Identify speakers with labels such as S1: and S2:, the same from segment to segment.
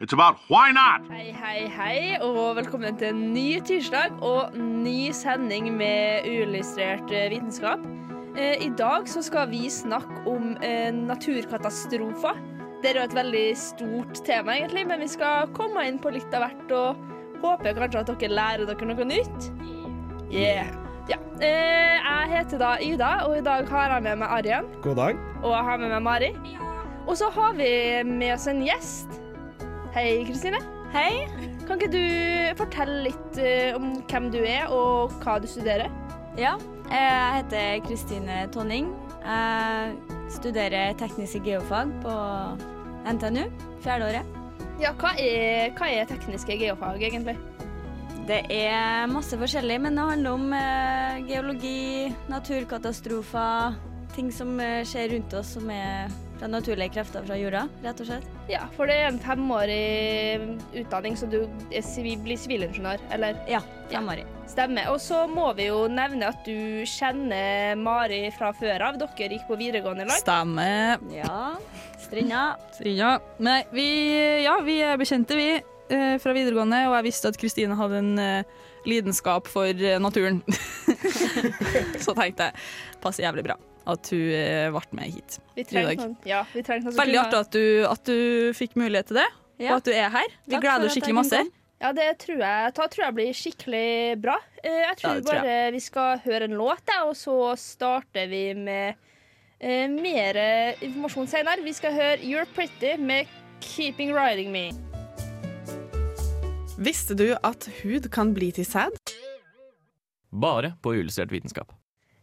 S1: it's about why not.
S2: Hei, hei, hei, og velkommen til en ny tirsdag og ny sending med uillustrert eh, vitenskap. Eh, I dag så skal vi snakke om eh, naturkatastrofer. Det er jo et veldig stort tema, egentlig, men vi skal komme inn på litt av hvert og håper kanskje at dere lærer dere noe nytt. Yeah. Ja. Eh, jeg heter da Ida, og i dag har jeg med meg Arjen.
S3: God dag.
S2: Og jeg har med meg Mari. Og så har vi med oss en gjest. Hei, Kristine. Hei. Kan ikke du fortelle litt eh, om hvem du er, og hva du studerer?
S4: Ja, eh, jeg heter Kristine Tonning. Jeg studerer tekniske geofag på NTNU, fjerdeåret.
S2: Ja, hva er, hva er tekniske geofag, egentlig?
S4: Det er masse forskjellig, men det handler om eh, geologi, naturkatastrofer, ting som eh, skjer rundt oss som er fra naturlige krefter fra jorda, rett og slett.
S2: Ja, for det er en femårig utdanning, så du er sivi- blir sivilingeniør, eller?
S4: Ja, femårig.
S2: Stemmer. Og så må vi jo nevne at du kjenner Mari fra før av. Dere gikk på videregående i lag.
S5: Stemmer.
S4: Ja. Strinda.
S5: Strinja. Nei, vi, ja, vi er bekjente, vi, eh, fra videregående, og jeg visste at Kristine hadde en eh, lidenskap for eh, naturen. Så tenkte jeg passer jævlig bra at hun eh, ble med hit.
S2: Vi
S5: i
S2: trengte
S5: dag.
S2: noen. Ja, vi trengte noen som
S5: Veldig
S2: Altså, kunne-
S5: artig at du, at du fikk mulighet til det,
S4: Ja.
S5: og at du er her.
S4: Takk
S5: Vi
S4: for
S5: gleder
S4: at
S5: oss
S4: jeg
S5: skikkelig masse.
S4: kunne
S2: Ja, det tror jeg, da tror jeg blir skikkelig bra. Eh, Jeg tror
S5: Ja, det tror jeg.
S2: bare vi skal høre en låt, jeg, og så starter vi med eh, mer eh, informasjon senere. Vi skal høre You're Pretty med Keeping Riding Me.
S6: Visste du at hud kan bli til sæd?
S7: Bare på Uillustrert vitenskap.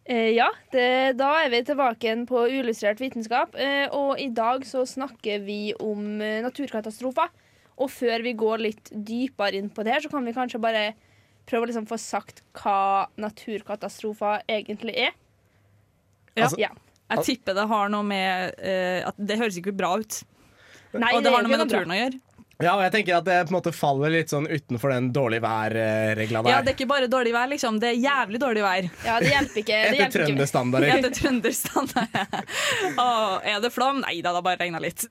S2: Eh, ja, det, da er vi tilbake igjen på uillustrert vitenskap. Eh, og i dag så snakker vi om eh, naturkatastrofer. Og før vi går litt dypere inn på det her, så kan vi kanskje bare prøve å liksom få sagt hva naturkatastrofer egentlig er. Altså,
S5: Ja.
S2: ja.
S5: Jeg tipper det har noe med eh, at Det høres ikke bra ut.
S2: Nei,
S5: og det
S2: er
S5: har noe
S2: ikke
S5: med
S2: bra.
S5: naturen å gjøre.
S3: Ja, og jeg tenker at det på en måte faller litt sånn utenfor den dårlig vær-regla der.
S5: Ja, Det er ikke bare dårlig vær, liksom. Det er jævlig dårlig vær.
S2: Ja, det hjelper ikke. Det
S3: Etter
S2: hjelper ikke.
S5: Ja,
S3: trønderstandarder.
S5: det er trønderstand. Å, er det flom? Nei da, det har bare regna litt.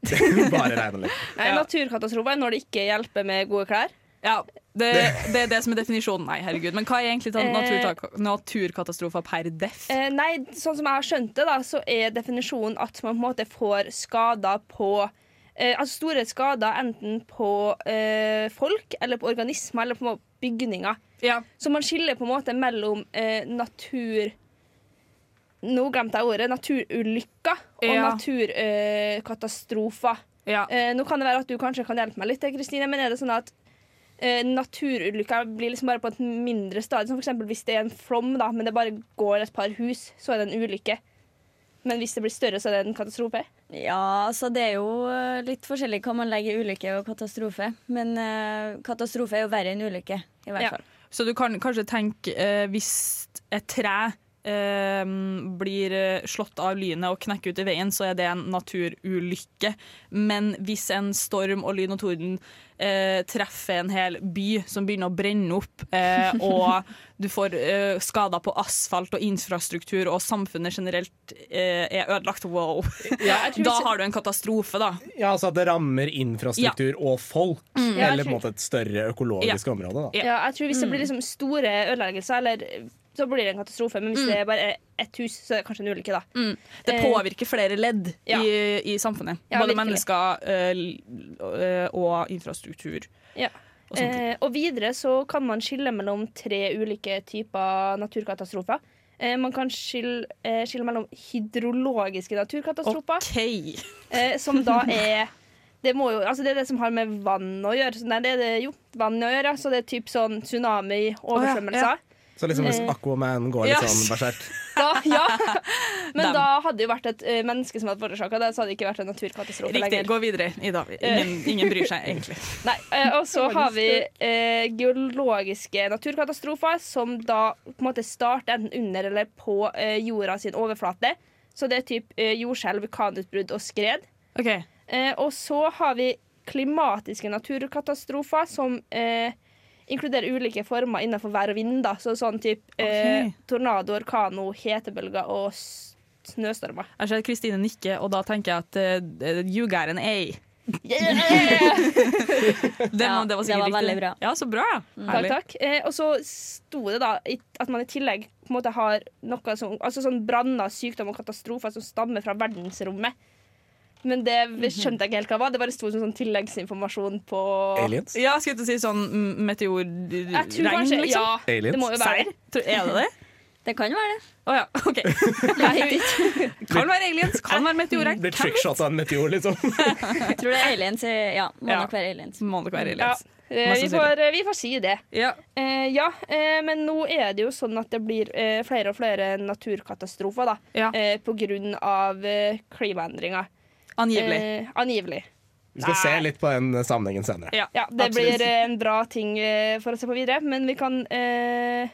S3: Bare regner litt.
S2: Nei,
S5: Ja.
S2: Naturkatastrofer er når det ikke hjelper med gode klær.
S5: Ja, det, det er det som er definisjonen. Nei, herregud. Men hva er egentlig sånn
S2: Eh.
S5: naturtak- naturkatastrofer per def?
S2: Eh, nei, sånn som jeg har skjønt det, da, så er definisjonen at man på en måte får skader på eh, Altså store skader enten på eh, folk eller på organismer eller på en måte bygninger.
S5: Ja.
S2: Så man skiller på en måte mellom eh, natur... Nå glemte jeg ordet. Naturulykker eh, og
S5: Ja.
S2: naturkatastrofer.
S5: ja.
S2: Eh, nå kan det være at du kanskje kan hjelpe meg litt, eh, Kristine, men er det sånn at eh, naturulykker blir liksom bare på et mindre stadium? Som for eksempel hvis det er en flom, da, men det bare går et par hus, så er det en ulykke. Men hvis det blir større, så er det en katastrofe.
S4: Ja, altså det er jo eh, litt forskjellig hva man legger i ulykke og katastrofe. Men eh, katastrofe er jo verre enn ulykke, i hvert
S2: Ja.
S4: fall.
S5: Så du kan kanskje tenke eh, hvis et tre eh, blir eh, slått av lynet og knekker ut i veien, så er det en naturulykke. Men hvis en storm og lyn og torden eh, treffer en hel by som begynner å brenne opp, eh, og du får eh, skader på asfalt og infrastruktur, og samfunnet generelt eh, er ødelagt, wow, da har du en katastrofe, da.
S3: Ja, altså at det rammer infrastruktur og folk.
S2: Ja,
S3: Eller
S2: jeg
S3: på en måte et større økologisk område, da.
S5: Mm. Ja. Mm.
S2: Ja, jeg tror Hvis det blir liksom store ødeleggelser, eller, så blir det en katastrofe. Men
S5: Mm.
S2: hvis det er bare ett hus, så er det kanskje en ulykke, da.
S5: Det
S2: Eh,
S5: påvirker flere ledd
S2: ja.
S5: i, i samfunnet.
S2: Ja,
S5: Både
S2: virkelig.
S5: mennesker eh, l- eh, og infrastruktur.
S2: Ja.
S5: Og sånne ting.
S2: Eh, og videre så kan man skille mellom tre ulike typer naturkatastrofer. Eh, man kan skille, eh, skille mellom hydrologiske naturkatastrofer,
S5: OK.
S2: eh, som da er det, må jo, altså det er det som har med vann å gjøre. Så Nei, det er det, jo, vann å gjøre. ja. Så det er typ sånn tsunami, oversvømmelser.
S3: Så liksom hvis
S2: Eh.
S3: Aquaman går litt
S5: Yes.
S3: sånn berserk.
S2: Da, ja. Men
S5: Dem.
S2: da hadde det jo vært et eh, menneske som hadde forårsaka det, så hadde det ikke vært en naturkatastrofe
S5: Riktig.
S2: lenger.
S5: Gå videre, Ida. Ingen, ingen bryr seg, egentlig.
S2: Nei, eh, Og så har vi eh, geologiske naturkatastrofer som da på en måte starter enten under eller på eh, jorda sin overflate. Så det er typ eh, jordskjelv, vulkanutbrudd og skred.
S5: OK.
S2: Eh, og så har vi klimatiske naturkatastrofer som eh, inkluderer ulike former innenfor vær og vind. Da. Så sånn type eh,
S5: Ok.
S2: tornado, orkano, hetebølger og s- snøstormer.
S5: Jeg ser at Kristine nikker, og da tenker jeg at eh, you got an A. Det,
S4: Ja,
S5: må- det var
S4: det
S5: sikkert
S4: var
S5: riktig.
S4: veldig bra.
S5: Ja, så bra.
S2: Takk,
S5: Herlig.
S2: takk. Eh, og så sto det da i- at man i tillegg på en måte har noe som, altså sånn branner, sykdom og katastrofer som stammer fra verdensrommet. Men det
S5: Mhm.
S2: skjønte jeg ikke helt hva var. Det bare sto som sånn tilleggsinformasjon på
S3: Aliens.
S5: Ja, skulle jeg til å si sånn mm,
S2: Jeg tror
S5: meteorregn,
S2: kanskje,
S5: liksom?
S2: ja, det må
S3: Aliens.
S2: jo være det.
S5: Tror- Er det det?
S4: Det kan være det.
S5: Å ja, OK. Kan være aliens, kan være meteorregn.
S3: Blir trickshot av en meteor, liksom.
S4: Jeg tror det er aliens. eh, Ja, må
S5: Ja.
S4: nok være aliens.
S5: Må nok være
S2: Ja,
S5: aliens.
S2: eh, vi,
S5: Mest
S2: får, vi får si det.
S5: Ja.
S2: Eh, ja, eh, men nå er det jo sånn at det blir eh, flere og flere naturkatastrofer da,
S5: Ja.
S2: eh, på grunn av eh, klimaendringer.
S5: Angivelig.
S2: Eh, angivelig.
S3: Vi skal se litt på den sammenhengen senere.
S5: Ja,
S2: Ja, det
S5: absolutt.
S2: blir eh, en bra ting eh, for å se på videre, men vi kan eh,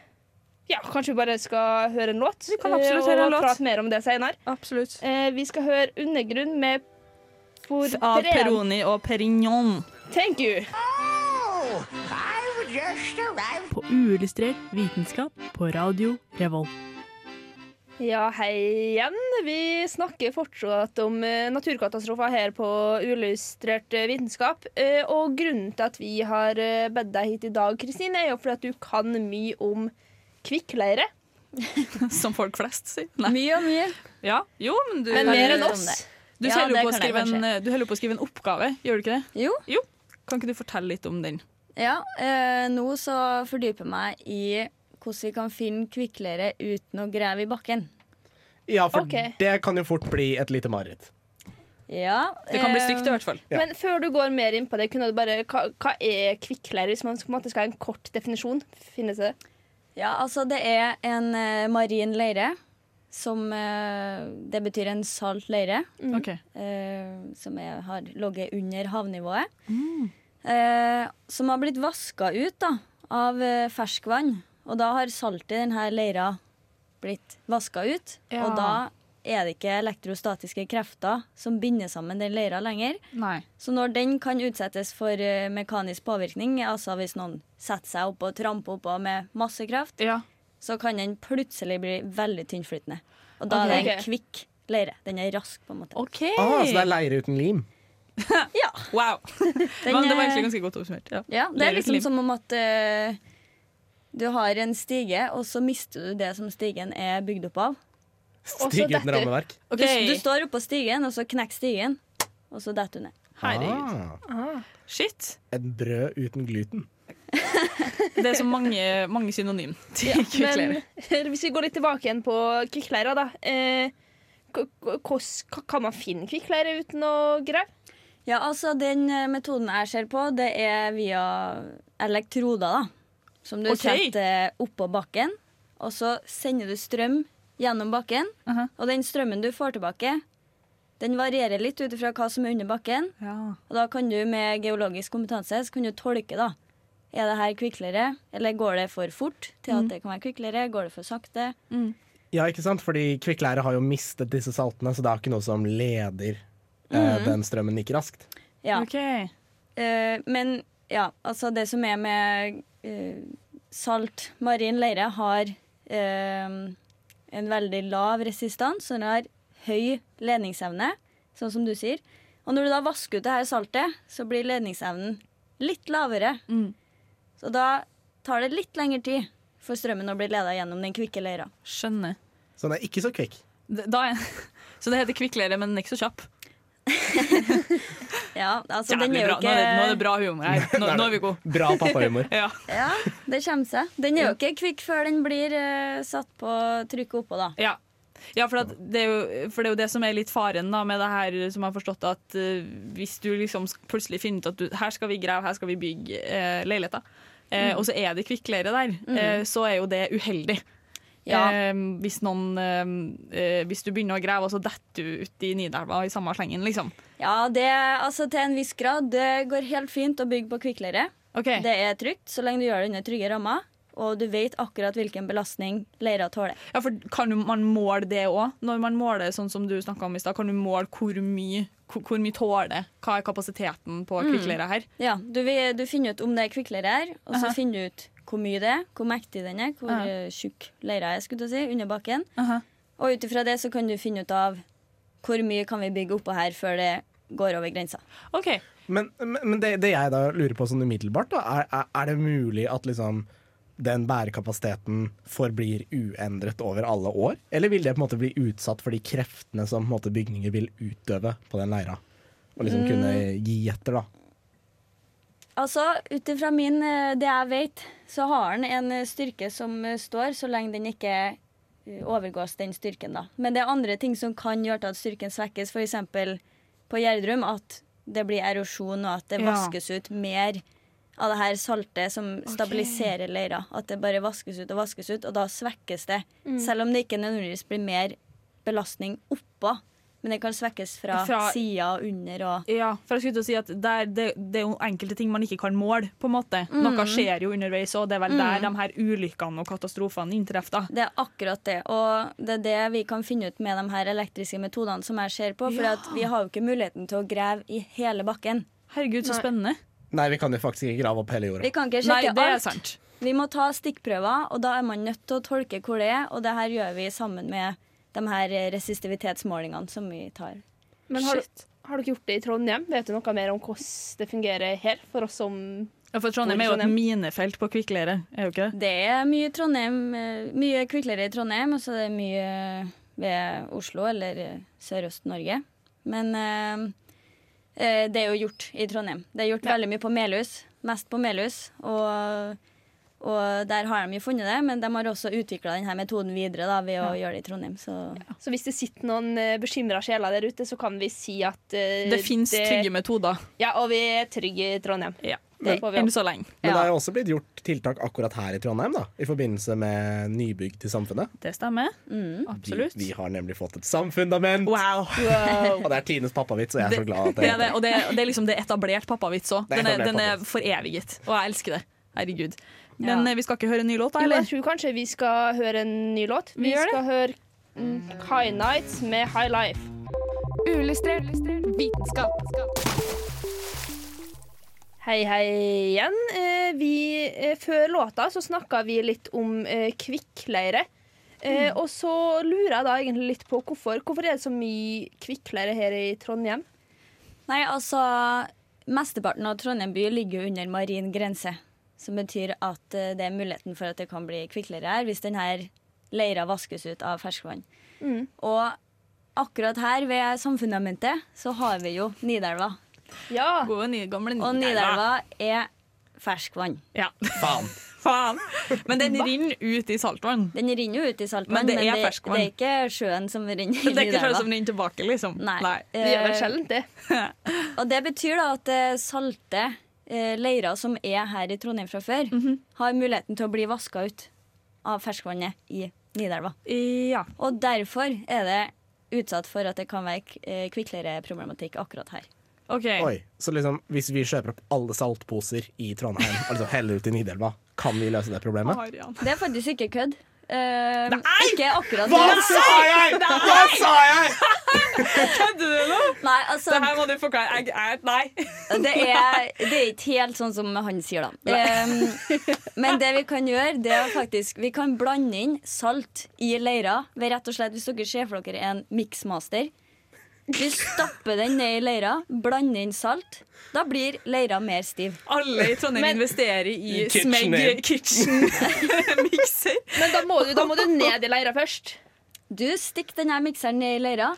S2: Ja, kanskje vi bare skal høre en låt? Vi
S5: kan absolutt høre en låt.
S2: Og prate mer om det senere.
S5: Absolutt.
S2: Eh, vi skal høre 'Undergrunn' med Por
S5: Av
S2: Peren.
S5: Peroni og Perignon.
S2: Thank you.
S8: På uillustrert vitenskap på Radio Revolt.
S2: Ja, hei igjen. Vi snakker fortsatt om eh, naturkatastrofer her på Uillustrert eh, vitenskap. Eh, og grunnen til at vi har eh, bedt deg hit i dag, Kristine, er jo fordi at du kan mye om kvikkleire.
S5: Som folk flest sier. Nei.
S4: Mye og mye.
S5: Ja. Jo, men du,
S4: Men
S5: du,
S2: Mer
S4: mer
S2: enn
S4: enn
S2: oss.
S5: du
S4: Ja,
S5: holder
S4: det
S5: jo på å
S4: kan jeg
S5: skrive en- du holder jo på å skrive en oppgave, gjør du ikke det?
S4: Jo.
S5: Kan ikke du fortelle litt om den?
S4: Ja, eh, nå så fordyper jeg meg i hvordan vi kan finne kvikkleire uten å grave i bakken.
S3: Ja, for
S2: Ok.
S3: det kan jo fort bli et lite mareritt.
S4: Ja,
S5: Det kan bli
S4: eh,
S5: stygt, i hvert fall.
S3: Ja.
S2: Men før du går mer inn på det, kunne du bare, hva, hva er kvikkleire? Hvis man på en måte skal ha en kort definisjon, finnes det?
S4: Ja, altså det er en eh, marin leire, som eh, det betyr en salt leire,
S5: Ok.
S4: eh, som er, har ligget under havnivået.
S5: Mm.
S4: Eh, som har blitt vaska ut da, av eh, ferskvann, og da har saltet i denne leira blitt vaska ut.
S5: Ja.
S4: Og da er det ikke elektrostatiske krefter som binder sammen den leira lenger.
S5: Nei.
S4: Så når den kan utsettes for eh, mekanisk påvirkning, altså hvis noen setter seg opp og tramper oppå med masse kraft,
S5: Ja.
S4: så kan den plutselig bli veldig tynnflytende. Og da er det en
S2: Ok.
S4: kvikk leire. Den er rask, på en måte.
S5: OK.
S3: Ah, så det er leire uten lim.
S4: Ja,
S5: Wow.
S4: den,
S5: Men det var
S4: eh,
S5: egentlig ganske godt oppsummert. Ja.
S4: ja, det
S5: Leire
S4: er liksom
S5: uten lim.
S4: som om at eh, du har en stige, og så mister du det som stigen er bygd opp av.
S2: Også
S3: Stig uten
S2: dette.
S3: rammeverk.
S5: Ok.
S4: Du, du står oppå stigen, og så knekker stigen, og så detter du ned.
S5: Herregud.
S3: Ah,
S5: Shit.
S3: et brød uten gluten.
S5: Det er så mange, mange synonym til kvikkleire.
S2: Men hvis vi går litt tilbake igjen på kvikkleira, da. Eh, k- k- hvordan- k- kan man finne kvikkleire uten å grave?
S4: Ja, altså Den eh, metoden jeg ser på, det er via elektroder. da Som du
S5: Ok.
S4: setter eh, oppå bakken, og så sender du strøm gjennom bakken.
S5: Aha.
S4: Og den strømmen du får tilbake, den varierer litt ut ifra hva som er under bakken.
S5: Ja.
S4: Og da kan du med geologisk kompetanse så kan du tolke, da. Er det her kviklere, eller går det for fort til
S5: Mhm.
S4: at det kan være kviklere? Går det for sakte?
S3: Ja, ikke sant? Fordi kvikkleire har jo mistet disse saltene, så det er ikke noe som leder eh, den strømmen like raskt.
S4: Ja.
S5: OK.
S4: Eh, men ja, altså det som er med eh, salt marin leire, har eh, en veldig lav resistans. Så den har høy ledningsevne, sånn som du sier. Og når du da vasker ut det her saltet, så blir ledningsevnen litt lavere.
S5: Mm.
S4: Så da tar det litt lengre tid for strømmen å bli leda gjennom den kvikke leira.
S5: Skjønner.
S3: Så den er ikke så kvikk.
S5: D- Da er, så det heter kvikkleire, men den er ikke så kjapp.
S4: Ja, altså
S5: Jævlig
S4: den er jo
S5: bra. Nå,
S4: ikke
S5: er det, nå er det bra humor her. Nå, nå er vi gode.
S3: Bra pappahumor.
S5: Ja.
S4: Ja, det kommer seg. Den er jo ikke kvikk før den blir eh, satt på trykket oppå, da.
S5: Ja. Ja, for, at det er jo, for det er jo det som er litt faren da, med det her som jeg har forstått, at eh, hvis du liksom sk- plutselig finner ut at du, her skal vi grave, her skal vi bygge eh, leiligheter, eh, og så er det kvikkleire der,
S4: Mm.
S5: eh, så er jo det uheldig.
S4: Ja.
S5: Eh, hvis, noen, eh, eh, hvis du begynner å grave, og så detter du uti Nidelva i samme slengen, liksom.
S4: Ja, det altså til en viss grad. Det går helt fint å bygge på kvikkleire. Det er trygt så lenge du gjør det under trygge rammer, og du vet akkurat hvilken belastning leira tåler.
S5: Ja, for kan du- man måle det òg? Når man måler sånn som du snakka om i stad, kan du måle hvor mye, hvor, hvor mye tåler det? Hva er kapasiteten på
S4: Mm.
S5: kvikkleira her?
S4: Ja, du, vil- du finner ut om det er kvikkleire her, og så
S5: Aha.
S4: finner du ut hvor mye det er, hvor mektig den er, hvor
S5: Aha.
S4: eh, tjukk leira er skulle jeg til å si, under bakken. Og ut ifra det så kan du finne ut av hvor mye kan vi bygge oppå her før det går over grensa.
S5: Ok.
S3: Men, men men det, det jeg da lurer på sånn umiddelbart, da, er, er, er det mulig at liksom den bærekapasiteten forblir uendret over alle år? Eller vil det på en måte bli utsatt for de kreftene som på en måte, bygninger vil utøve på den leira? Og liksom
S4: Mm.
S3: kunne gi etter, da.
S4: Altså, ut ifra min, eh, det jeg vet, så har den en eh, styrke som eh, står, så lenge den ikke eh, overgås den styrken, da. Men det er andre ting som kan gjøre til at styrken svekkes, f.eks. på Gjerdrum, at det blir erosjon, og at det
S5: Ja.
S4: vaskes ut mer av det her saltet som stabiliserer leira. At det bare vaskes ut og vaskes ut, og da svekkes det.
S2: Mm.
S4: Selv om det ikke nødvendigvis blir mer belastning oppå, men det kan svekkes fra,
S5: Fra-
S4: sida og under og
S5: Ja, for jeg skulle til å si at der, det, det er jo enkelte ting man ikke kan måle, på en måte.
S4: Mm.
S5: Noe skjer jo underveis, og det er vel der de
S4: Mm.
S5: her ulykkene og katastrofene inntreffer. da.
S4: Det er akkurat det. Og det er det vi kan finne ut med de her elektriske metodene som jeg ser på. For
S5: Ja.
S4: at vi har jo ikke muligheten til å grave i hele bakken.
S5: Herregud, så
S4: Nei.
S5: spennende.
S3: Nei, vi kan jo faktisk ikke grave opp hele jorda.
S4: Vi kan ikke
S5: Nei,
S4: sjekke
S5: det er
S4: alt.
S5: sant.
S4: Vi må ta stikkprøver, og da er man nødt til å tolke hvor det er. Og det her gjør vi sammen med de her resistivitetsmålingene som vi tar.
S2: Men har, du- har dere gjort det i Trondheim? Vet du noe mer om hvordan det fungerer her, for oss som
S5: Ja, for Trondheim
S2: Hvor
S5: er jo et
S2: Trondheim?
S5: minefelt på kvikkleire, er jo ikke det?
S4: Det er mye Trondheim, eh, mye kviklere i Trondheim, og så er det mye ved Oslo eller eh, Sørøst-Norge. Men eh, eh, det er jo gjort i Trondheim. Det er gjort veldig mye på Melhus, mest på Melhus. Og, og der har de jo funnet det, men de har også utvikla denne metoden videre da, ved å gjøre det i Trondheim. Så.
S2: Så hvis det sitter noen bekymra sjeler der ute, så kan vi si at eh,
S5: Det fins trygge metoder.
S2: Ja, og vi er trygge i Trondheim.
S5: Ja.
S2: Det får vi
S5: Enn
S2: opp.
S5: så lenge.
S3: Men det har jo også blitt gjort tiltak akkurat her i Trondheim, da. I forbindelse med nybygg til samfunnet.
S5: Det stemmer.
S3: Vi,
S5: Absolutt.
S3: vi har nemlig fått et samfundament!
S5: Wow.
S3: Og det er Tines pappavits, og jeg er så glad at
S5: Det er det, og det, det er liksom det er etablert pappavits òg.
S3: Det er
S5: Den, er-
S3: etablert
S5: den er
S3: pappavits.
S5: foreviget, og jeg elsker det. Herregud. Men
S2: Ja.
S5: eh, vi skal ikke høre en ny låt, da,
S2: Jo,
S5: eller?
S2: jeg tror kanskje vi skal høre en ny låt. Vi,
S9: gjør det.
S2: skal høre mm, High Nights med High Life.
S9: Uillustrert vitenskap.
S2: Hei, hei igjen. Eh, vi, eh, før låta så snakka vi litt om eh, kvikkleire. Eh, Og så lurer jeg da egentlig litt på hvorfor. Hvorfor er det så mye kvikkleire her i Trondheim?
S4: Nei, altså Mesteparten av Trondheim by ligger jo under marin grense. Som betyr at eh, det er muligheten for at det kan bli kviklere her hvis denne leira vaskes ut av ferskvann.
S5: Mm.
S4: Og akkurat her ved samfundamentet så har vi jo Nidelva.
S2: Ja.
S5: Gode, nye, gamle
S4: Og Nidelva er ferskvann.
S5: Ja.
S3: Faen!
S5: Faen. Men den renner ut i saltvann.
S4: Den renner jo ut i
S5: Men
S4: saltvann,
S5: det
S4: men,
S5: er
S4: det,
S5: ferskvann.
S4: det er ikke sjøen som renner i
S5: Det er ikke
S4: Nidelva.
S5: sånn som renner tilbake, liksom.
S4: Nei.
S2: Det gjør vel
S4: Eh,
S2: sjelden det.
S4: Og det betyr da at eh, salte eh, leirer som er her i Trondheim fra før, har muligheten til å bli vaska ut av ferskvannet i Nidelva.
S5: Eh, Ja.
S4: Og derfor er det utsatt for at det kan være k- eh, kvikkleireproblematikk akkurat her.
S5: OK.
S3: Oi, så liksom, hvis vi kjøper opp alle saltposer i Trondheim og liksom heller ut i Nidelva, kan vi løse det problemet?
S5: Arian.
S4: Det er faktisk ikke kødd. Eh, ikke akkurat
S3: Hva
S4: nå.
S3: sa jeg?! Hva sa jeg?!
S5: Kødder du nå?
S4: Nei, altså,
S5: Det her må du forklare. Jeg, jeg, nei.
S4: det er, det er ikke helt sånn som han sier, da. Eh, men det vi kan gjøre, det er faktisk Vi kan blande inn salt i leira. Ved rett og slett, hvis dere ser for dere en miksmaster Vi stapper den ned i leira, blander inn salt. Da blir leira mer stiv.
S5: Alle i Trondheim investerer i
S3: Kitchen
S5: Smeg Kitchen-mikser.
S2: Men da må du, da må du ned i leira først.
S4: Du stikker denne mikseren ned i leira,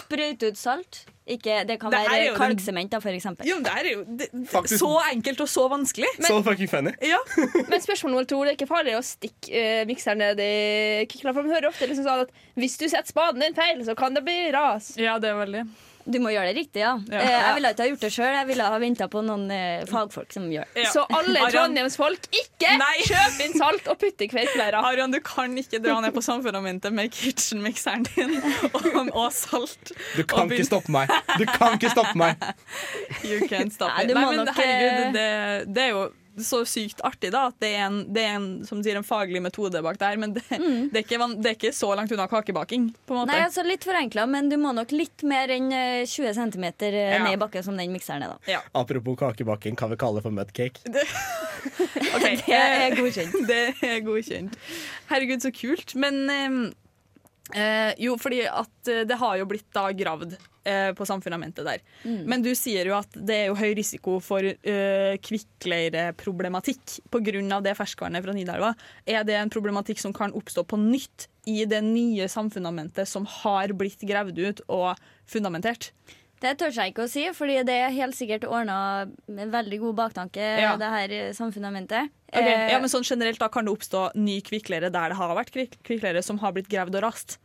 S4: sprøyter ut salt, Ikke, det kan
S5: Det her er
S4: være
S5: jo den-
S4: kalksement, da, for eksempel.
S5: Jo, men det er jo det, det,
S3: Faktisk-
S5: så enkelt og så vanskelig.
S3: Så fucking funny.
S2: Men spørsmål nummer to, det er ikke farlig å stikke eh, mikseren ned i kikla, for man hører ofte liksom sånn at hvis du setter spaden din feil, så kan det bli ras.
S5: Ja, det er veldig.
S4: Du må gjøre det riktig, ja.
S5: Ja.
S4: Eh, Jeg ville ikke ha gjort det sjøl, jeg ville ha venta på noen eh, fagfolk som gjør det.
S5: Ja.
S2: Så alle
S5: Arian-
S2: trondheimsfolk, ikke
S5: Nei.
S2: kjøp inn salt og putt i kveitblæra.
S5: Arian, du kan ikke dra ned på samfunnsmomentet med kitchen-mikseren din og, og salt.
S3: Du kan ikke
S5: Og begynn-
S3: stoppe meg. Du kan ikke stoppe meg.
S5: You can't stop
S4: Nei,
S5: it.
S4: du
S5: Nei,
S4: må
S5: men
S4: nok, eh,
S5: herregud, det, det er jo så sykt artig da, at det er en, det er en, som du sier, en faglig metode bak det her, men det, det, er ikke, van- det er ikke så langt unna kakebaking, på en
S4: Mm.
S5: måte.
S4: Nei, altså Litt forenkla, men du må nok litt mer enn eh, 20 cm
S5: Ja.
S4: ned i bakken som den mikseren er, da.
S3: Apropos kakebaking, kan vi kalle det for mudcake?
S5: Ok,
S4: Det er
S5: eh,
S4: godkjent.
S5: det er godkjent. Herregud, så kult. Men eh, eh, jo, fordi at eh, det har jo blitt da gravd eh, på samfunnamentet der. Men du sier jo at det er jo høy risiko for eh, kvikkleireproblematikk pga. det ferskvannet fra Nidelva. Er det en problematikk som kan oppstå på nytt i det nye samfunnamentet som har blitt gravd ut og fundamentert?
S4: Det tør jeg ikke å si, fordi det er helt sikkert ordna med veldig god baktanke,
S5: Ja.
S4: det her eh, samfunnamentet.
S5: Ok,
S4: Eh,
S5: Ja, men sånn Generelt da kan det oppstå ny kvikkleire der det har vært kvik- kvikkleire som har blitt gravd og rast.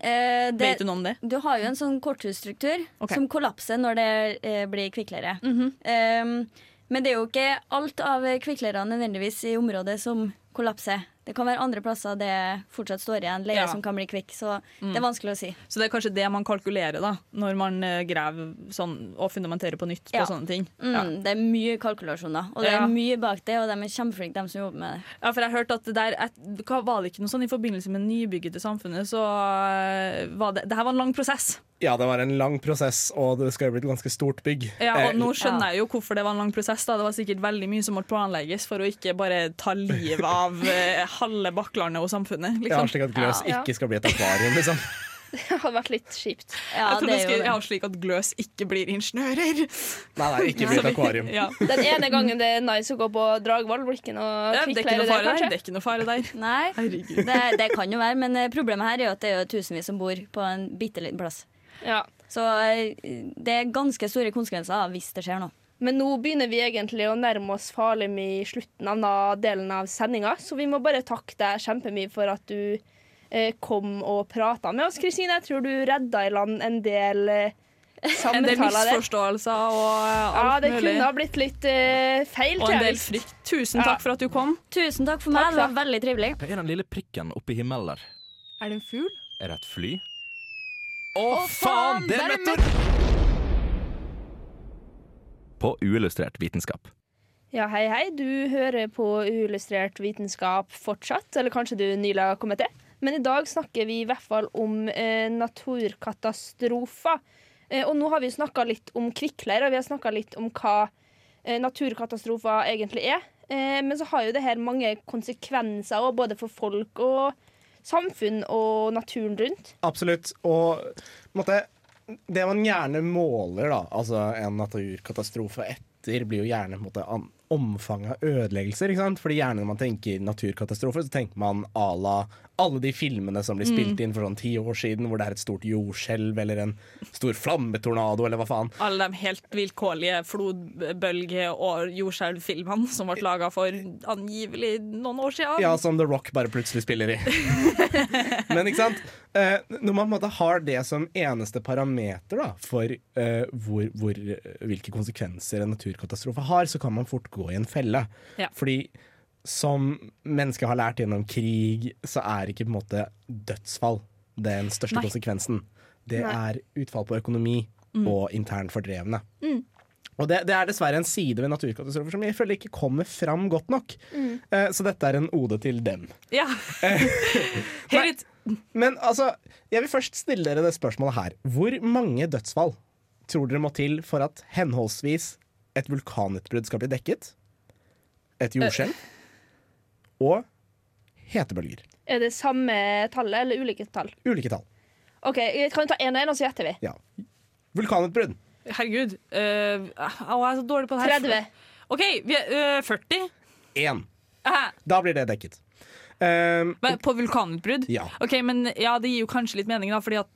S4: eh, det,
S5: Vet du noe om det?
S4: Du har jo en sånn korthusstruktur
S5: Ok. Mhm.
S4: som kollapser når det eh, blir kvikkleire. Ehm, men det er jo ikke alt av kvikkleirene nødvendigvis i området som kollapser. Det kan være andre plasser det fortsatt står igjen leire
S5: Ja. Mm.
S4: som kan bli kvikk. Så det er vanskelig å si.
S5: Så det er kanskje det man kalkulerer da, når man eh, graver sånn, og fundamenterer på nytt
S4: Ja.
S5: på sånne ting.
S4: Mm,
S5: Ja.
S4: Det er mye kalkulasjoner, og det
S5: Ja.
S4: er mye bak det, og de er kjempeflinke, de som jobber med det.
S5: Ja, for jeg hørte at det der, et, hva- var det ikke noe sånn i forbindelse med nybygget til samfunnet, så eh, var det, det her var en lang prosess.
S3: Ja, det var en lang prosess, og det skal jo bli et ganske stort bygg.
S5: Ja,
S3: Eh,
S5: og nå skjønner jeg jo hvorfor det var en lang prosess da. Det var sikkert veldig mye som måtte planlegges for å ikke bare ta livet av eh, halve baklandet og
S3: ja,
S5: samfunnet, liksom.
S3: slik at Gløs
S2: Ja.
S3: ikke skal bli et akvarium, liksom.
S2: Det hadde vært litt kjipt.
S4: Ja,
S5: jeg tror
S4: det er
S5: det
S4: jo
S5: skal
S4: det.
S5: ja, slik at gløs ikke blir ingeniører.
S3: Nei, nei, ikke bli et akvarium.
S5: Ja.
S2: Den ene gangen det er nice å gå på Dragvoll, blir ikke noe
S5: Ja, Det er ikke
S2: kvikkleire
S5: noe
S2: der,
S5: fare der. Det
S2: kanskje?
S5: er ikke noe fare der.
S4: Nei,
S5: Herregud.
S4: det, det kan jo være, men eh, problemet her er jo at det er jo tusenvis som bor på en bitte liten plass.
S2: Ja.
S4: Så eh, det er ganske store konsekvenser hvis det skjer noe.
S2: Men nå begynner vi egentlig å nærme oss Falem i slutten av denne delen av sendinga, så vi må bare takke deg kjempemye for at du eh, kom og prata med oss, Kristine. Jeg tror du redda i land en del eh,
S5: En
S2: samtaler
S5: del
S2: der.
S5: misforståelser og eh,
S2: Ja,
S5: alt
S2: det
S5: mulig.
S2: kunne ha blitt litt eh, feil,
S5: Og en
S2: tror jeg.
S5: del
S2: visst.
S5: frykt. Tusen takk for at du kom.
S4: Tusen takk for
S2: Takk
S4: meg, det var veldig trivelig.
S7: Hva er den lille prikken oppe i himmelen der?
S8: Er det en fugl?
S7: Er det et fly? Å, faen! Det er meteor! På uillustrert vitenskap.
S2: Ja, hei, hei. Du hører på uillustrert vitenskap fortsatt, eller kanskje du nylig har kommet til. Men i dag snakker vi i hvert fall om eh, naturkatastrofer. Eh, og nå har vi snakka litt om kvikkleire, og vi har snakka litt om hva eh, naturkatastrofer egentlig er. Eh, men så har jo det her mange konsekvenser, også, både for folk og samfunn og naturen rundt.
S3: Absolutt. Og på en måte, det man gjerne måler, da, altså en naturkatastrofe etter, blir jo gjerne på en måte, an- omfanget av ødeleggelser. ikke sant? Fordi gjerne når man tenker naturkatastrofe, så tenker man à la alle de filmene som blir
S7: Mm.
S3: spilt inn for sånn ti år siden, hvor det er et stort jordskjelv eller en stor flammetornado eller hva faen.
S5: Alle de helt vilkårlige flodbølge- og jordskjelvfilmene som ble laga for angivelig noen år siden.
S3: Ja, som The Rock bare plutselig spiller i. Men ikke sant? Eh, når man på en måte har det som eneste parameter da, for eh, hvor, hvor, eh, hvilke konsekvenser en naturkatastrofe har, så kan man fort gå i en felle.
S5: Ja.
S3: Fordi som mennesker har lært gjennom krig, så er ikke på en måte dødsfall den største
S5: Nei.
S3: konsekvensen. Det
S2: Nei.
S3: er utfall på økonomi og internt fordrevne. Og det, det er dessverre en side ved naturkatastrofer som jeg føler ikke kommer fram godt nok.
S5: Mm.
S3: Eh, så dette er en ode til dem.
S5: Ja. Hør ut.
S3: Men altså, jeg vil først stille dere det spørsmålet her. Hvor mange dødsfall tror dere må til for at henholdsvis et vulkanutbrudd skal bli dekket, et jordskjelv
S5: Eh.
S3: og hetebølger?
S2: Er det samme tallet, eller ulike tall?
S3: Ulike tall.
S2: OK, eh, kan vi ta én og én, og så gjetter vi?
S3: Ja. Vulkanutbrudd.
S5: Herregud. Øh, au, jeg er så dårlig på det her.
S2: 30.
S5: OK, vi er, øh, 40.
S3: Én.
S5: Hæ?
S3: Da blir det dekket. Ehm,
S5: Men På vulkanutbrudd?
S3: Ja.
S5: Ok, men ja, Det gir jo kanskje litt mening, da, fordi at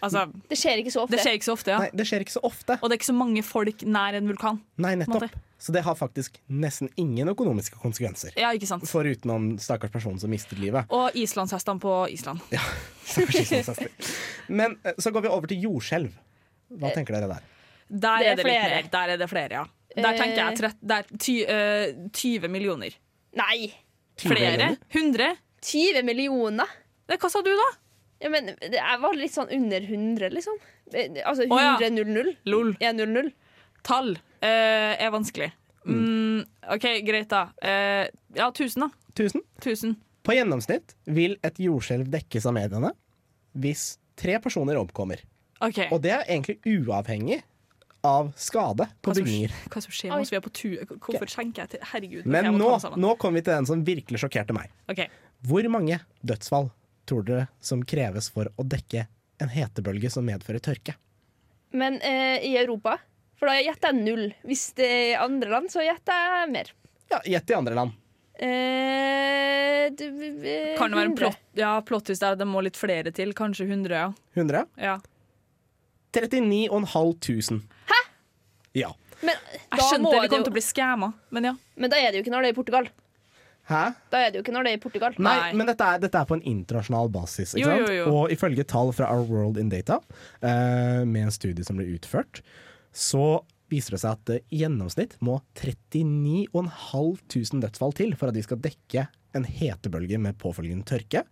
S5: Altså,
S2: det skjer ikke så ofte.
S5: Det skjer ikke så ofte, ja.
S3: Nei, det skjer ikke så ofte.
S5: Og det er ikke så mange folk nær en vulkan.
S3: Nei,
S5: på en måte.
S3: nettopp. Så det har faktisk nesten ingen økonomiske konsekvenser.
S5: Ja, ikke sant.
S3: Foruten om stakkars personen som mistet livet.
S5: Og islandshestene på Island.
S3: Stakkars islandshester. Men eh, så går vi over til jordskjelv.
S5: Eh.
S3: Hva tenker dere der?
S5: Der
S2: Det
S5: er,
S2: er
S5: det litt
S2: flere.
S5: mer. Der er det flere, ja. Der tenker jeg trett, der, ty, eh, 20 millioner.
S2: Nei!
S3: 20
S5: Flere?
S3: millioner?
S5: 100?
S2: 20 millioner?
S5: Det, hva sa du, da?
S2: Ja, men det er- var litt sånn under 100, liksom. Eh, Altså
S5: Å, ja.
S2: 100 00
S5: Lol.
S2: 100.
S5: Tall eh, er vanskelig. Mm, OK, greit, da. Eh, ja, 1000, da.
S3: 1000?
S5: 1000.
S3: På gjennomsnitt vil et jordskjelv dekkes av mediene hvis tre personer omkommer.
S5: OK.
S3: Og det er egentlig uavhengig av skade på
S5: Hva som,
S3: bygninger.
S5: hva som skjer med oss? Vi er på tu... Hvorfor skjenker jeg til Herregud. ok,
S3: Men
S5: jeg må
S3: nå,
S5: ta meg sammen.
S3: nå kommer vi til den som virkelig sjokkerte meg.
S5: OK.
S3: Hvor mange dødsfall tror dere som kreves for å dekke en hetebølge som medfører tørke?
S2: Men eh, i Europa For da gjetter jeg null. Hvis det er i andre land, så gjetter jeg mer.
S3: Ja, Gjett i andre land.
S2: Eh, du, eh,
S5: Kan det være en
S2: 100?
S5: plott, ja, plottis der det må litt flere til? Kanskje 100, ja.
S3: 100?
S5: ja.
S3: 39.500. Hæ? Ja.
S2: Men
S5: Jeg
S2: da, må
S5: skjønte vi
S2: det
S5: kom
S2: jo,
S5: til å bli skamma, men ja.
S2: men da er det jo ikke når det er i Portugal.
S3: Hæ?
S2: Da er det jo ikke når det er i Portugal.
S3: Nei,
S5: Nei.
S3: men dette er, dette er på en internasjonal basis. Ikke
S5: Jo,
S3: sant?
S5: jo, jo.
S3: Og ifølge tall fra Our World in Data, eh, med en studie som ble utført, så viser det seg at det i gjennomsnitt må 39.500 dødsfall til for at de skal dekke en hetebølge med påfølgende tørke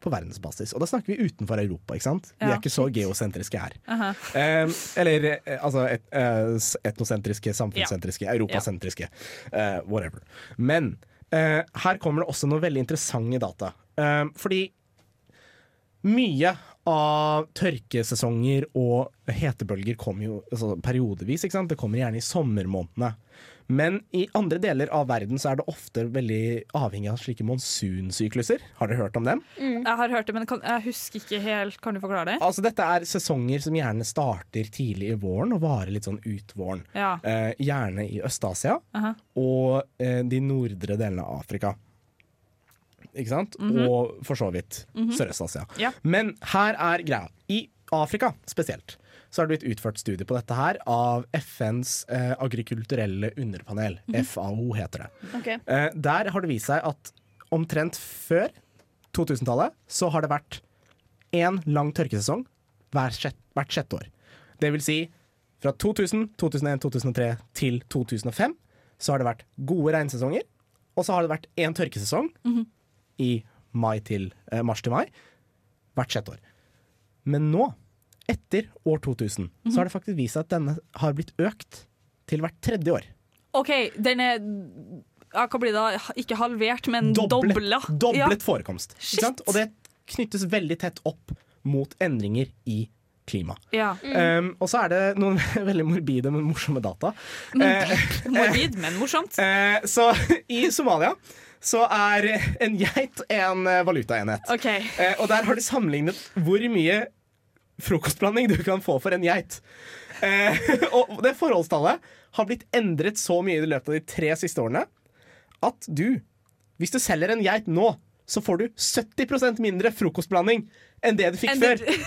S3: på verdensbasis. Og da snakker vi utenfor Europa, ikke sant? Vi
S5: Ja,
S3: er ikke så
S5: shit.
S3: geosentriske her.
S5: Aha.
S3: Eh, eller eh, altså et, eh, s- etnosentriske, samfunnssentriske, europasentriske. eh, whatever. Men eh, her kommer det også noen veldig interessante data. Eh, fordi mye av tørkesesonger og hetebølger kommer jo altså, periodevis. Ikke sant? Det kommer gjerne i sommermånedene. Men i andre deler av verden så er det ofte veldig avhengig av slike monsunsykluser. Har dere hørt om dem?
S2: Mm.
S5: Jeg har hørt det, men kan, jeg husker ikke helt. Kan du forklare det?
S3: Altså Dette er sesonger som gjerne starter tidlig i våren og varer litt sånn ut våren.
S5: Ja.
S3: Eh, gjerne i Øst-Asia
S5: Aha.
S3: og eh, de nordre delene av Afrika. Ikke sant? Og for så vidt Sørøst-Asia.
S5: Mhm. Ja.
S3: Men her er greia. I Afrika spesielt så har det blitt utført studier på dette her av FNs eh, agrikulturelle underpanel.
S5: Mhm.
S3: FAO heter det.
S2: Ok.
S3: Eh, der har det vist seg at omtrent før 2000-tallet så har det vært én lang tørkesesong hver sjett, hvert sjette år. Det vil si fra 2000, 2001, 2003 til 2005 så har det vært gode regnsesonger. Og så har det vært én tørkesesong i mai til, eh, mars til mai hvert sjette år. Men nå, etter år 2000, så har det faktisk vist seg at denne har blitt økt til hvert tredje år.
S5: OK, den er ja, Hva blir det da? Ikke halvert, men
S3: Doblet,
S5: dobla?
S3: doblet forekomst.
S5: Shit.
S3: Ikke sant? Og det knyttes veldig tett opp mot endringer i klima.
S5: Ja.
S3: Um, og så er det noen veldig morbide, men morsomme data. Eh,
S5: ja. Mm. Morbid, men morsomt.
S3: eh, så i Somalia så er en geit en eh, valutaenhet.
S5: OK.
S3: Eh, og der har de sammenlignet hvor mye frokostblanding du kan få for en geit. Eh, og det forholdstallet har blitt endret så mye i løpet av de tre siste årene at du, hvis du selger en geit nå, så får du 70 mindre frokostblanding enn det du fikk
S5: Enn
S3: før.
S5: det-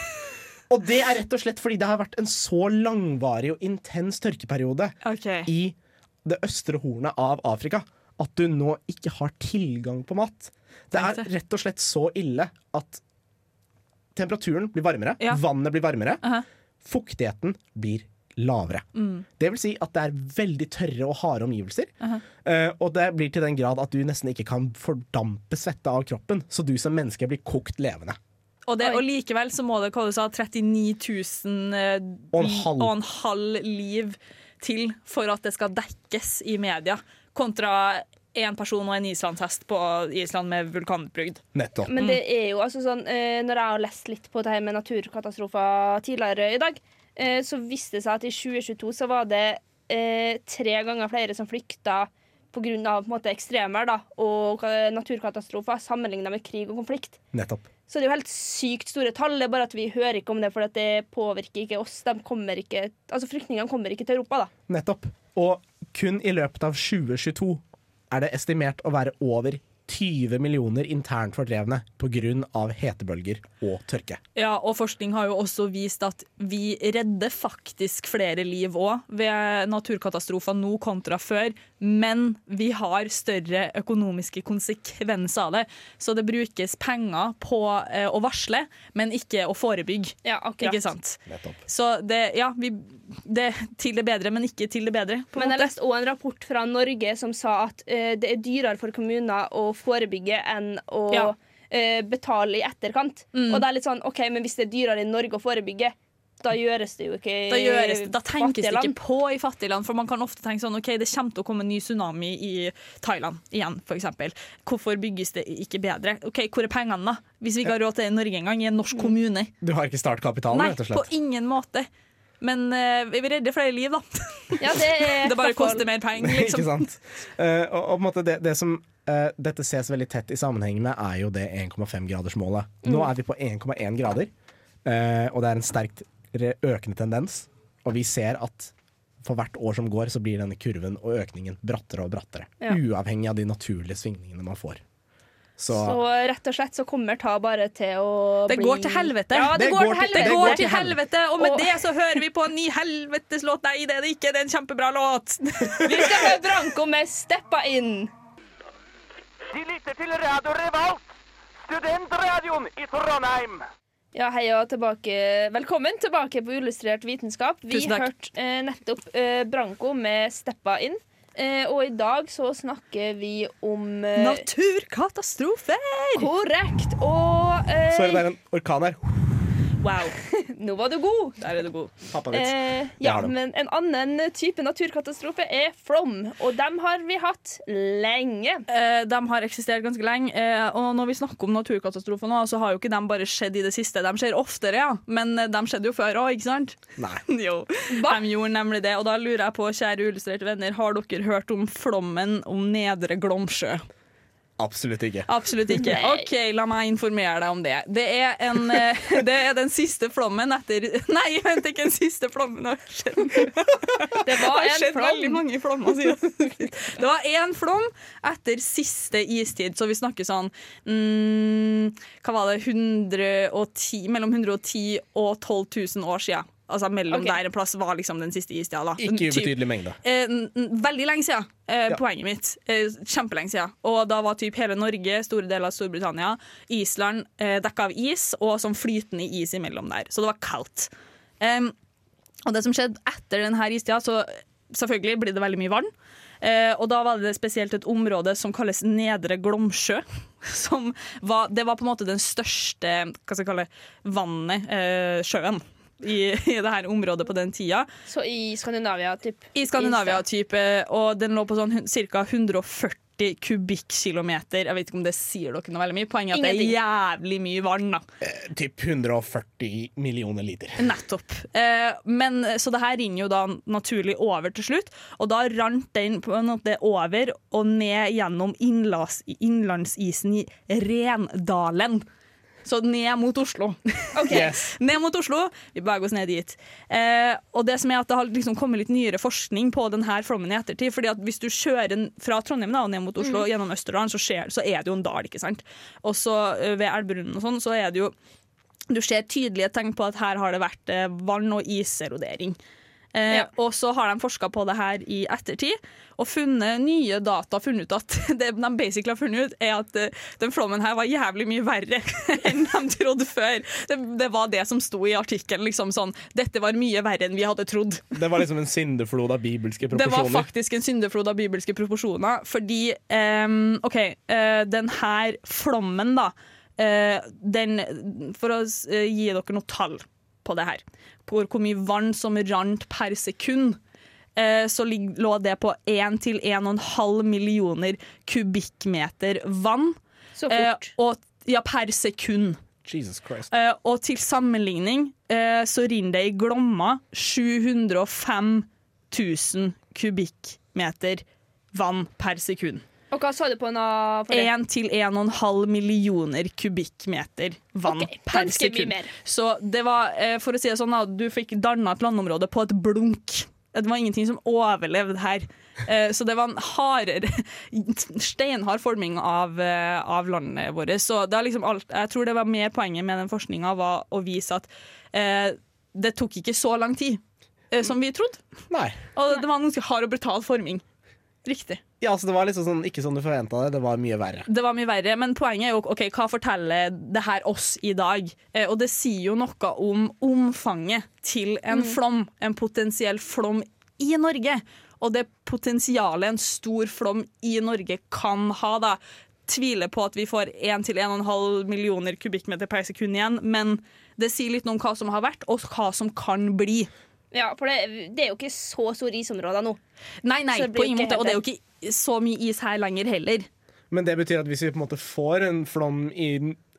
S3: Og det er rett og slett fordi det har vært en så langvarig og intens tørkeperiode
S5: Ok.
S3: i det østre hornet av Afrika at du nå ikke har tilgang på mat. Det
S5: Tenk
S3: er
S5: det.
S3: rett og slett så ille at temperaturen blir varmere,
S5: Ja.
S3: vannet blir varmere,
S5: Aha. Mm.
S3: fuktigheten blir lavere. Det vil si at det er veldig tørre og harde omgivelser. eh, Og det blir til den grad at du nesten ikke kan fordampe svette av kroppen, så du som menneske blir kokt levende.
S5: Og, det,
S2: Oi.
S5: og likevel så må det, hva du sa, 39 000 eh,
S3: Og en
S5: li-
S3: halv.
S5: og en halv liv til for at det skal dekkes i media, kontra én person og en islandshest på Island med vulkanutbrudd.
S3: Nettopp.
S2: Men det er jo altså sånn eh, Når jeg har lest litt på det her med naturkatastrofer tidligere i dag, eh, så viste det seg at i 2022 så var det eh, tre ganger flere som flykta pga. ekstremvær da, og eh, naturkatastrofer sammenligna med krig og konflikt.
S3: Nettopp.
S2: Så det er jo helt sykt store tall, det er bare at vi hører ikke om det, for at det påvirker ikke oss. De kommer ikke, altså Flyktningene kommer ikke til Europa, da.
S3: Nettopp. Og kun i løpet av 2022 er det estimert å være over 20 millioner internt fordrevne pga. hetebølger og tørke.
S5: Ja, og forskning har jo også vist at vi redder faktisk flere liv òg ved naturkatastrofer nå kontra før, men vi har større økonomiske konsekvenser av det. Så det brukes penger på eh, å varsle, men ikke å forebygge.
S2: Ja, akkurat.
S5: Ikke sant? Så det, ja, vi, det er til det bedre, men ikke til det bedre. på en
S2: Men jeg
S5: måte.
S2: leste også en rapport fra Norge som sa at eh, det er dyrere for kommuner å forebygge enn å
S5: Ja.
S2: eh, betale i etterkant.
S5: Mm.
S2: Og det er litt sånn, ok, men hvis det er dyrere i Norge å forebygge, da gjøres det jo ikke i
S5: Da, gjøres, det- da Eh, tenkes det
S2: fattige land.
S5: ikke på i fattige land, for man kan ofte tenke sånn OK, det kommer til å komme en ny tsunami i Thailand igjen, f.eks. Hvorfor bygges det ikke bedre? OK, hvor er pengene, da? Hvis vi ikke har råd til det i Norge engang, i en norsk kommune?
S3: Du har ikke startkapitalen,
S5: Nei,
S3: rett og
S5: på
S3: slett.
S5: ingen måte. Men eh, vi redder flere liv, da.
S2: Ja, det er
S5: Det bare koster mer penger,
S3: Ikke
S5: liksom.
S3: sant? Eh, og, og på en måte det, det som eh, dette ses veldig tett i sammenheng med, er jo det 1,5-gradersmålet.
S5: Mm.
S3: Nå er vi på 1,1 grader, eh, og det er en sterkt re- økende tendens. Og vi ser at for hvert år som går, så blir denne kurven og økningen brattere og brattere.
S2: Ja.
S3: Uavhengig av de naturlige svingningene man får. Så,
S2: Så rett og slett så kommer ta bare til å
S5: Det
S2: bli
S5: går til helvete.
S2: Ja, det,
S3: Det
S2: går,
S3: går
S2: til
S3: til-
S2: helvete.
S5: Det går til helvete, og med
S2: Og-
S5: det så hører vi på en ny helveteslåt. Nei, det er det ikke. Det er en kjempebra låt.
S2: Vi skal høre Branko med 'Steppa inn'.
S10: De lytter til Radio Revolt, studentradioen i Trondheim.
S2: Ja, hei og tilbake. Velkommen tilbake på Illustrert vitenskap. Vi
S5: Tusen takk.
S2: hørte eh, nettopp eh, Branko med 'Steppa inn'. Eh, og i dag så snakker vi om eh,
S5: Naturkatastrofer!
S2: Korrekt. Og eh,
S3: sorry, det er en orkan her.
S5: Wow.
S2: nå var du god.
S5: Der er du god.
S3: Pappavits.
S2: Eh,
S3: Jeg
S2: ja,
S3: har det.
S2: men en annen type naturkatastrofe er flom. Og dem har vi hatt lenge.
S5: Eh, de har eksistert ganske lenge. eh, og når vi snakker om naturkatastrofer nå, så har jo ikke de bare skjedd i det siste. De skjer oftere, ja. Men eh, de skjedde jo før òg, ikke sant?
S3: Nei.
S5: jo. De gjorde nemlig det. Og da lurer jeg på, kjære illustrerte venner, har dere hørt om flommen om Nedre Glomsjø?
S3: Absolutt ikke.
S5: Absolutt ikke. OK, la meg informere deg om det. Det er, en, eh, det er den siste flommen etter Nei, vent, ikke den siste flommen. Det har
S2: Det
S5: skjedd,
S2: var
S5: det har
S2: en
S5: skjedd veldig
S2: flom.
S5: mange flommer siden. Det var én flom etter siste istid, så vi snakker sånn mm, Hva var det? 110, mellom 110 og 12 000 år siden. Altså mellom
S2: Ok.
S5: der en plass var liksom den siste istida. da.
S3: Ikke
S5: Typ-
S3: ubetydelig mengde.
S5: Eh, n- n- veldig lenge siden, eh,
S3: Ja.
S5: poenget mitt. Eh, kjempelenge siden. Og da var typ hele Norge, store deler av Storbritannia, Island eh, dekka av is, og sånn flytende is imellom der. Så det var kaldt. Em, og det som skjedde etter denne istida, så selvfølgelig blir det veldig mye vann. Eh, og da var det spesielt et område som kalles Nedre Glomsjø. Som var, det var på en måte den største hva skal jeg kalle, vannet, eh, sjøen, i, i det her området på den tida.
S2: Så i Skandinavia, typ.
S5: I Skandinavia-type, og den lå på sånn ca. 140 kubikkilometer. Jeg vet ikke om det sier dere noe veldig mye. Poenget er at det er jævlig mye vann. da.
S3: Typ 140 millioner liter.
S5: Nettopp. Eh, men, så det her ringer jo da naturlig over til slutt, og da rant den på en måte over og ned gjennom innlas, innlandsisen i Rendalen. Så ned mot Oslo.
S2: Ok.
S5: Ned mot Oslo. Vi beveger oss ned dit. Eh, og Det som er at det har liksom kommet litt nyere forskning på denne flommen i ettertid. fordi at Hvis du kjører n- fra Trondheim da, og ned mot Oslo gjennom Østerdalen, så, skjer, så er det jo en dal. ikke sant? Og så eh, ved Elverunden og sånn, så er det jo Du ser tydelige tegn på at her har det vært eh, vann- og iserodering. Eh,
S2: Ja.
S5: Og så har de forska på det her i ettertid og funnet nye data. funnet ut at Det de basically har funnet ut, er at eh, den flommen her var jævlig mye verre enn de trodde før. Det, det var det som sto i artikkelen. Liksom sånn, Dette var mye verre enn vi hadde trodd.
S3: Det var liksom en syndeflod av bibelske
S5: Det var
S3: proporsjoner.
S5: faktisk en syndeflod av bibelske proporsjoner, fordi ehm, OK, eh, den her flommen, da eh, den, For å s- eh, gi dere noe tall på det her, på hvor mye vann som rant per sekund, eh, så lig- lå det på 1-1,5 millioner kubikkmeter vann.
S2: Så
S5: eh,
S2: fort.
S5: og, ja, per sekund.
S3: Jesus Christ.
S5: Eh, og til sammenligning eh, så rinner det i Glomma 705 000 kubikkmeter vann per sekund.
S2: Og hva sa du på nå? for det?
S5: 1 til 1,5 millioner kubikkmeter vann
S2: Ok,
S5: per
S2: ganske mye
S5: sekund.
S2: mer.
S5: Så det var, eh, for å si det sånn, da, du fikk danna et landområde på et blunk. Det var ingenting som overlevde her. Eh, Så det var en hardere, steinhard forming av, eh, av landet vårt. Så det er liksom alt, jeg tror det var mer poenget med den forskninga var å vise at eh, det tok ikke så lang tid eh, som vi trodde. Og det var en ganske hard og brutal forming. Riktig.
S3: Ja, altså Det var liksom sånn, ikke som du forventa det, det var mye verre.
S5: Det var mye verre, men poenget er jo ok, hva forteller det her oss i dag? Eh, og det sier jo noe om omfanget til en
S11: Mm.
S5: flom, en potensiell flom i Norge. Og det potensialet en stor flom i Norge kan ha, da. Tviler på at vi får 1-1,5 millioner kubikkmeter per sekund igjen, men det sier litt om hva som har vært, og hva som kan bli.
S2: Ja, for det, det er jo ikke så store isområder nå.
S5: Nei, nei,
S2: Så det blir
S5: på ingen
S2: ikke
S5: måte. Og det er
S2: helt-
S5: jo ikke så mye is her lenger heller.
S3: Men det betyr at hvis vi på en måte får en flom i,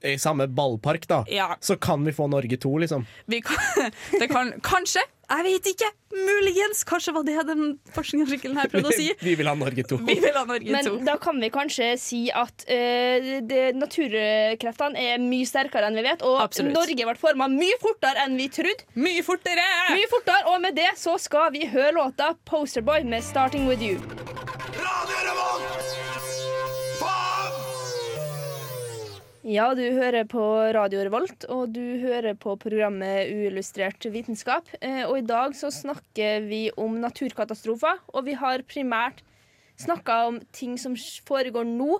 S3: i samme ballpark, da,
S5: Ja.
S3: så kan vi få Norge to, liksom.
S5: Vi kan, det kan, kanskje, jeg vet ikke, muligens, kanskje var det den forskningsartikkelen her prøvde å si.
S3: vi vil ha Norge to.
S5: Vi vil ha Norge
S2: Men
S5: to.
S2: da kan vi kanskje si at eh, det- naturkreftene er mye sterkere enn vi vet, og
S5: Absolutt.
S2: Norge ble forma mye fortere enn vi trodde.
S5: Mye fortere!
S2: Mye fortere, Og med det så skal vi høre låta 'Posterboy' med 'Starting With You'. Ja, du hører på Radio Revolt, og du hører på programmet Uillustrert vitenskap. Eh, Og i dag så snakker vi om naturkatastrofer, og vi har primært snakka om ting som foregår nå,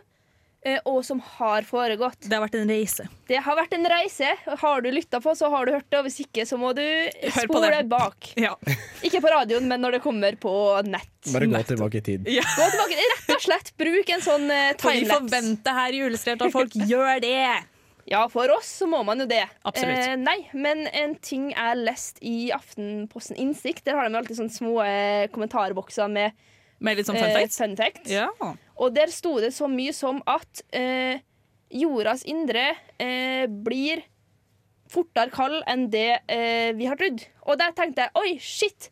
S2: eh, og som har foregått.
S5: Det har vært en reise.
S2: Det har vært en reise. Har du lytta på, så har du hørt det. Og hvis ikke, så må du
S5: på
S2: spole
S5: det.
S2: bak.
S5: Ja.
S2: Ikke på radioen, men når det kommer på nett.
S3: Bare gå tilbake i tid.
S2: Gå tilbake, Rett og slett bruk en sånn eh,
S5: For vi
S2: timelapse.
S5: forventer her i Uillustrert at folk gjør det.
S2: Ja, for oss så må man jo det.
S5: Absolutt.
S2: Eh, nei, men en ting jeg lest i Aftenposten Innsikt, der har de jo alltid sånne små eh, kommentarbokser med
S5: Med litt sånn fun facts.
S2: Eh, fun facts.
S5: Ja.
S2: Og der sto det så mye som at eh, jordas indre eh, blir fortere kald enn det eh, vi har trodd. Og der tenkte jeg oi, shit!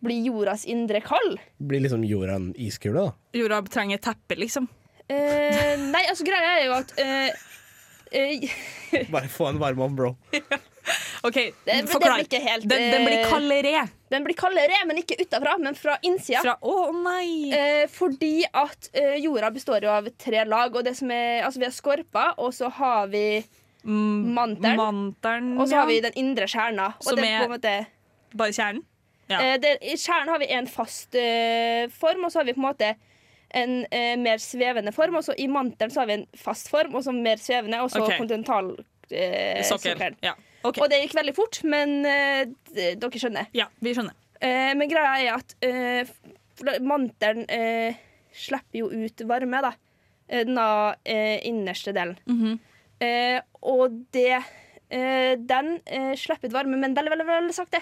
S2: Blir jordas indre kald?
S3: Blir liksom jorda en iskule, da.
S5: Jorda trenger et teppe, liksom.
S2: Eh, nei, altså greia er jo at eh, eh,
S3: Bare få en varme om, bro.
S5: OK,
S2: Den, den
S5: forklar.
S2: blir ikke helt
S5: Den, den blir
S2: eh,
S5: kaldere.
S2: Den blir kaldere, men ikke utafra, men fra innsida.
S5: Fra- å, nei.
S2: Eh, fordi at eh, jorda består jo av tre lag. Og det som er, altså, vi har skorpa, og så har vi mantelen.
S5: mantelen,
S2: og så
S5: Mm, ja.
S2: har vi den indre kjerna. Og
S5: Som
S2: den,
S5: er-
S2: på en måte,
S5: Bare kjernen. Ja.
S2: eh, der, I kjernen har vi en fast eh, form, og så har vi på en måte en eh, mer svevende form. Og så i mantelen så har vi en fast form, og så mer svevende, og så
S5: Ok.
S2: kontinentalsokkelen. Eh,
S5: Sokkel.
S2: sokkelen.
S5: Ja.
S2: Og det gikk veldig fort, men eh, d- dere skjønner.
S5: ja, vi skjønner.
S2: Eh, men greia er at eh, f- mantelen eh, slipper jo ut varme, da. Eh, Den da, eh, innerste delen. eh, og det eh, Den eh, slipper ut varme, men veldig, veldig, veldig sakte.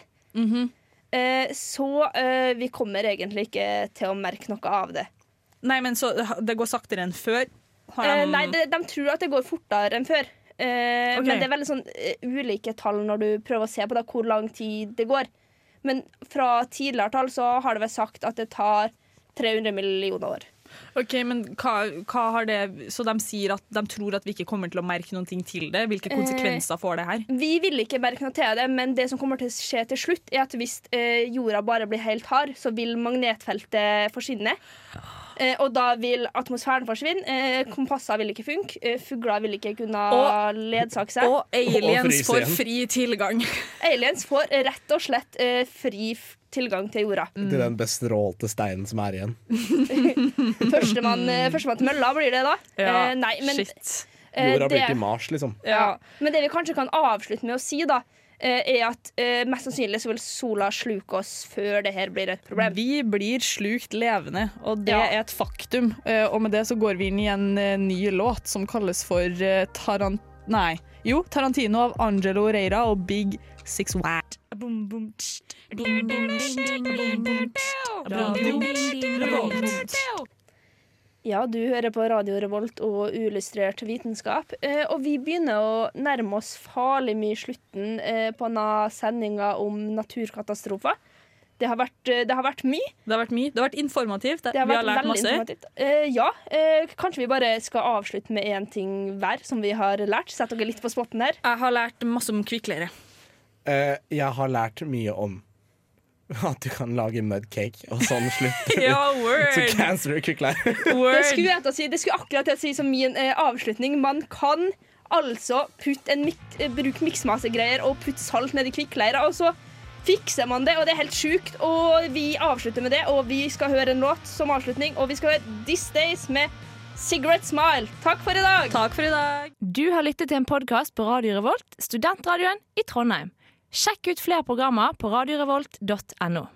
S2: Eh, så eh, vi kommer egentlig ikke til å merke noe av det.
S5: Nei, men så det går saktere enn før. Har
S2: Eh,
S5: de-
S2: nei, de, de tror at det går fortere enn før. Eh,
S5: Ok.
S2: Men det er veldig sånn eh, ulike tall når du prøver å se på da, hvor lang tid det går. Men fra tidligere tall så har det vært sagt at det tar 300 millioner år.
S5: Ok, men hva, hva har det Så de sier at de tror at vi ikke kommer til å merke noen ting til det? Hvilke
S2: Eh.
S5: konsekvenser får det her?
S2: Vi vil ikke merke noe til det, men det som kommer til å skje til slutt, er at hvis eh, jorda bare blir helt hard, så vil magnetfeltet forsvinne. Eh, og da vil atmosfæren forsvinne. Eh, kompasser vil ikke funke. Eh, fugler vil ikke kunne
S5: Og-
S2: ledsage seg.
S5: Og aliens får fri tilgang.
S2: Aliens får rett og slett eh, fri f- tilgang til jorda.
S3: Til den bestrålte steinen som er igjen.
S2: Førstemann eh, førstemann til mølla blir det da.
S3: Ja,
S2: Eh, nei, men,
S5: shit.
S2: eh,
S3: Jorda blir
S2: det-
S3: til Mars, liksom.
S2: Ja. Men det vi kanskje kan avslutte med å si, da, eh, er at eh, mest sannsynlig så vil sola sluke oss før det her blir et problem.
S5: Vi blir slukt levende, og det
S2: Ja.
S5: er et faktum. Eh, Og med det så går vi inn i en eh, ny låt som kalles for eh, Tarant... Nei. Jo, Tarantino av Angelo Reira og Big Six Watt. Boom, boom, tss, boom, boom, tss, boom, boom, tss. Radio Revolt.
S2: Ja, du hører på Radio Revolt og uillustrert vitenskap. Eh, og vi begynner å nærme oss farlig mye slutten eh, på denne sendinga om naturkatastrofer. Det har, vært, eh, det har vært mye.
S5: Det har vært mye. Det har vært informativt.
S2: Det har
S5: vi
S2: vært
S5: har lært
S2: veldig
S5: masse.
S2: informativt. Eh, ja, eh, kanskje vi bare skal avslutte med én ting hver som vi har lært. Sett dere litt på spotten her.
S5: Jeg har lært masse om kvikkleire.
S3: Eh, jeg har lært mye om At du kan lage mudcake, og sånn slutter
S2: Ja, word.
S3: Så cancer du kukler.
S2: Det skulle, jeg til å si, det skulle akkurat til å si som min eh, avslutning. Man kan altså putte en mik eh, bruke miksmasegreier og putte salt nedi kvikkleira, og så fikser man det, og det er helt sjukt. Og vi avslutter med det, og vi skal høre en låt som avslutning, og vi skal høre This Days med Cigarette Smile. Takk for i dag.
S12: Takk for i dag.
S5: Du har lyttet til en podkast på Radio Revolt, studentradioen i Trondheim. Sjekk ut flere programmer på radiorevolt.no.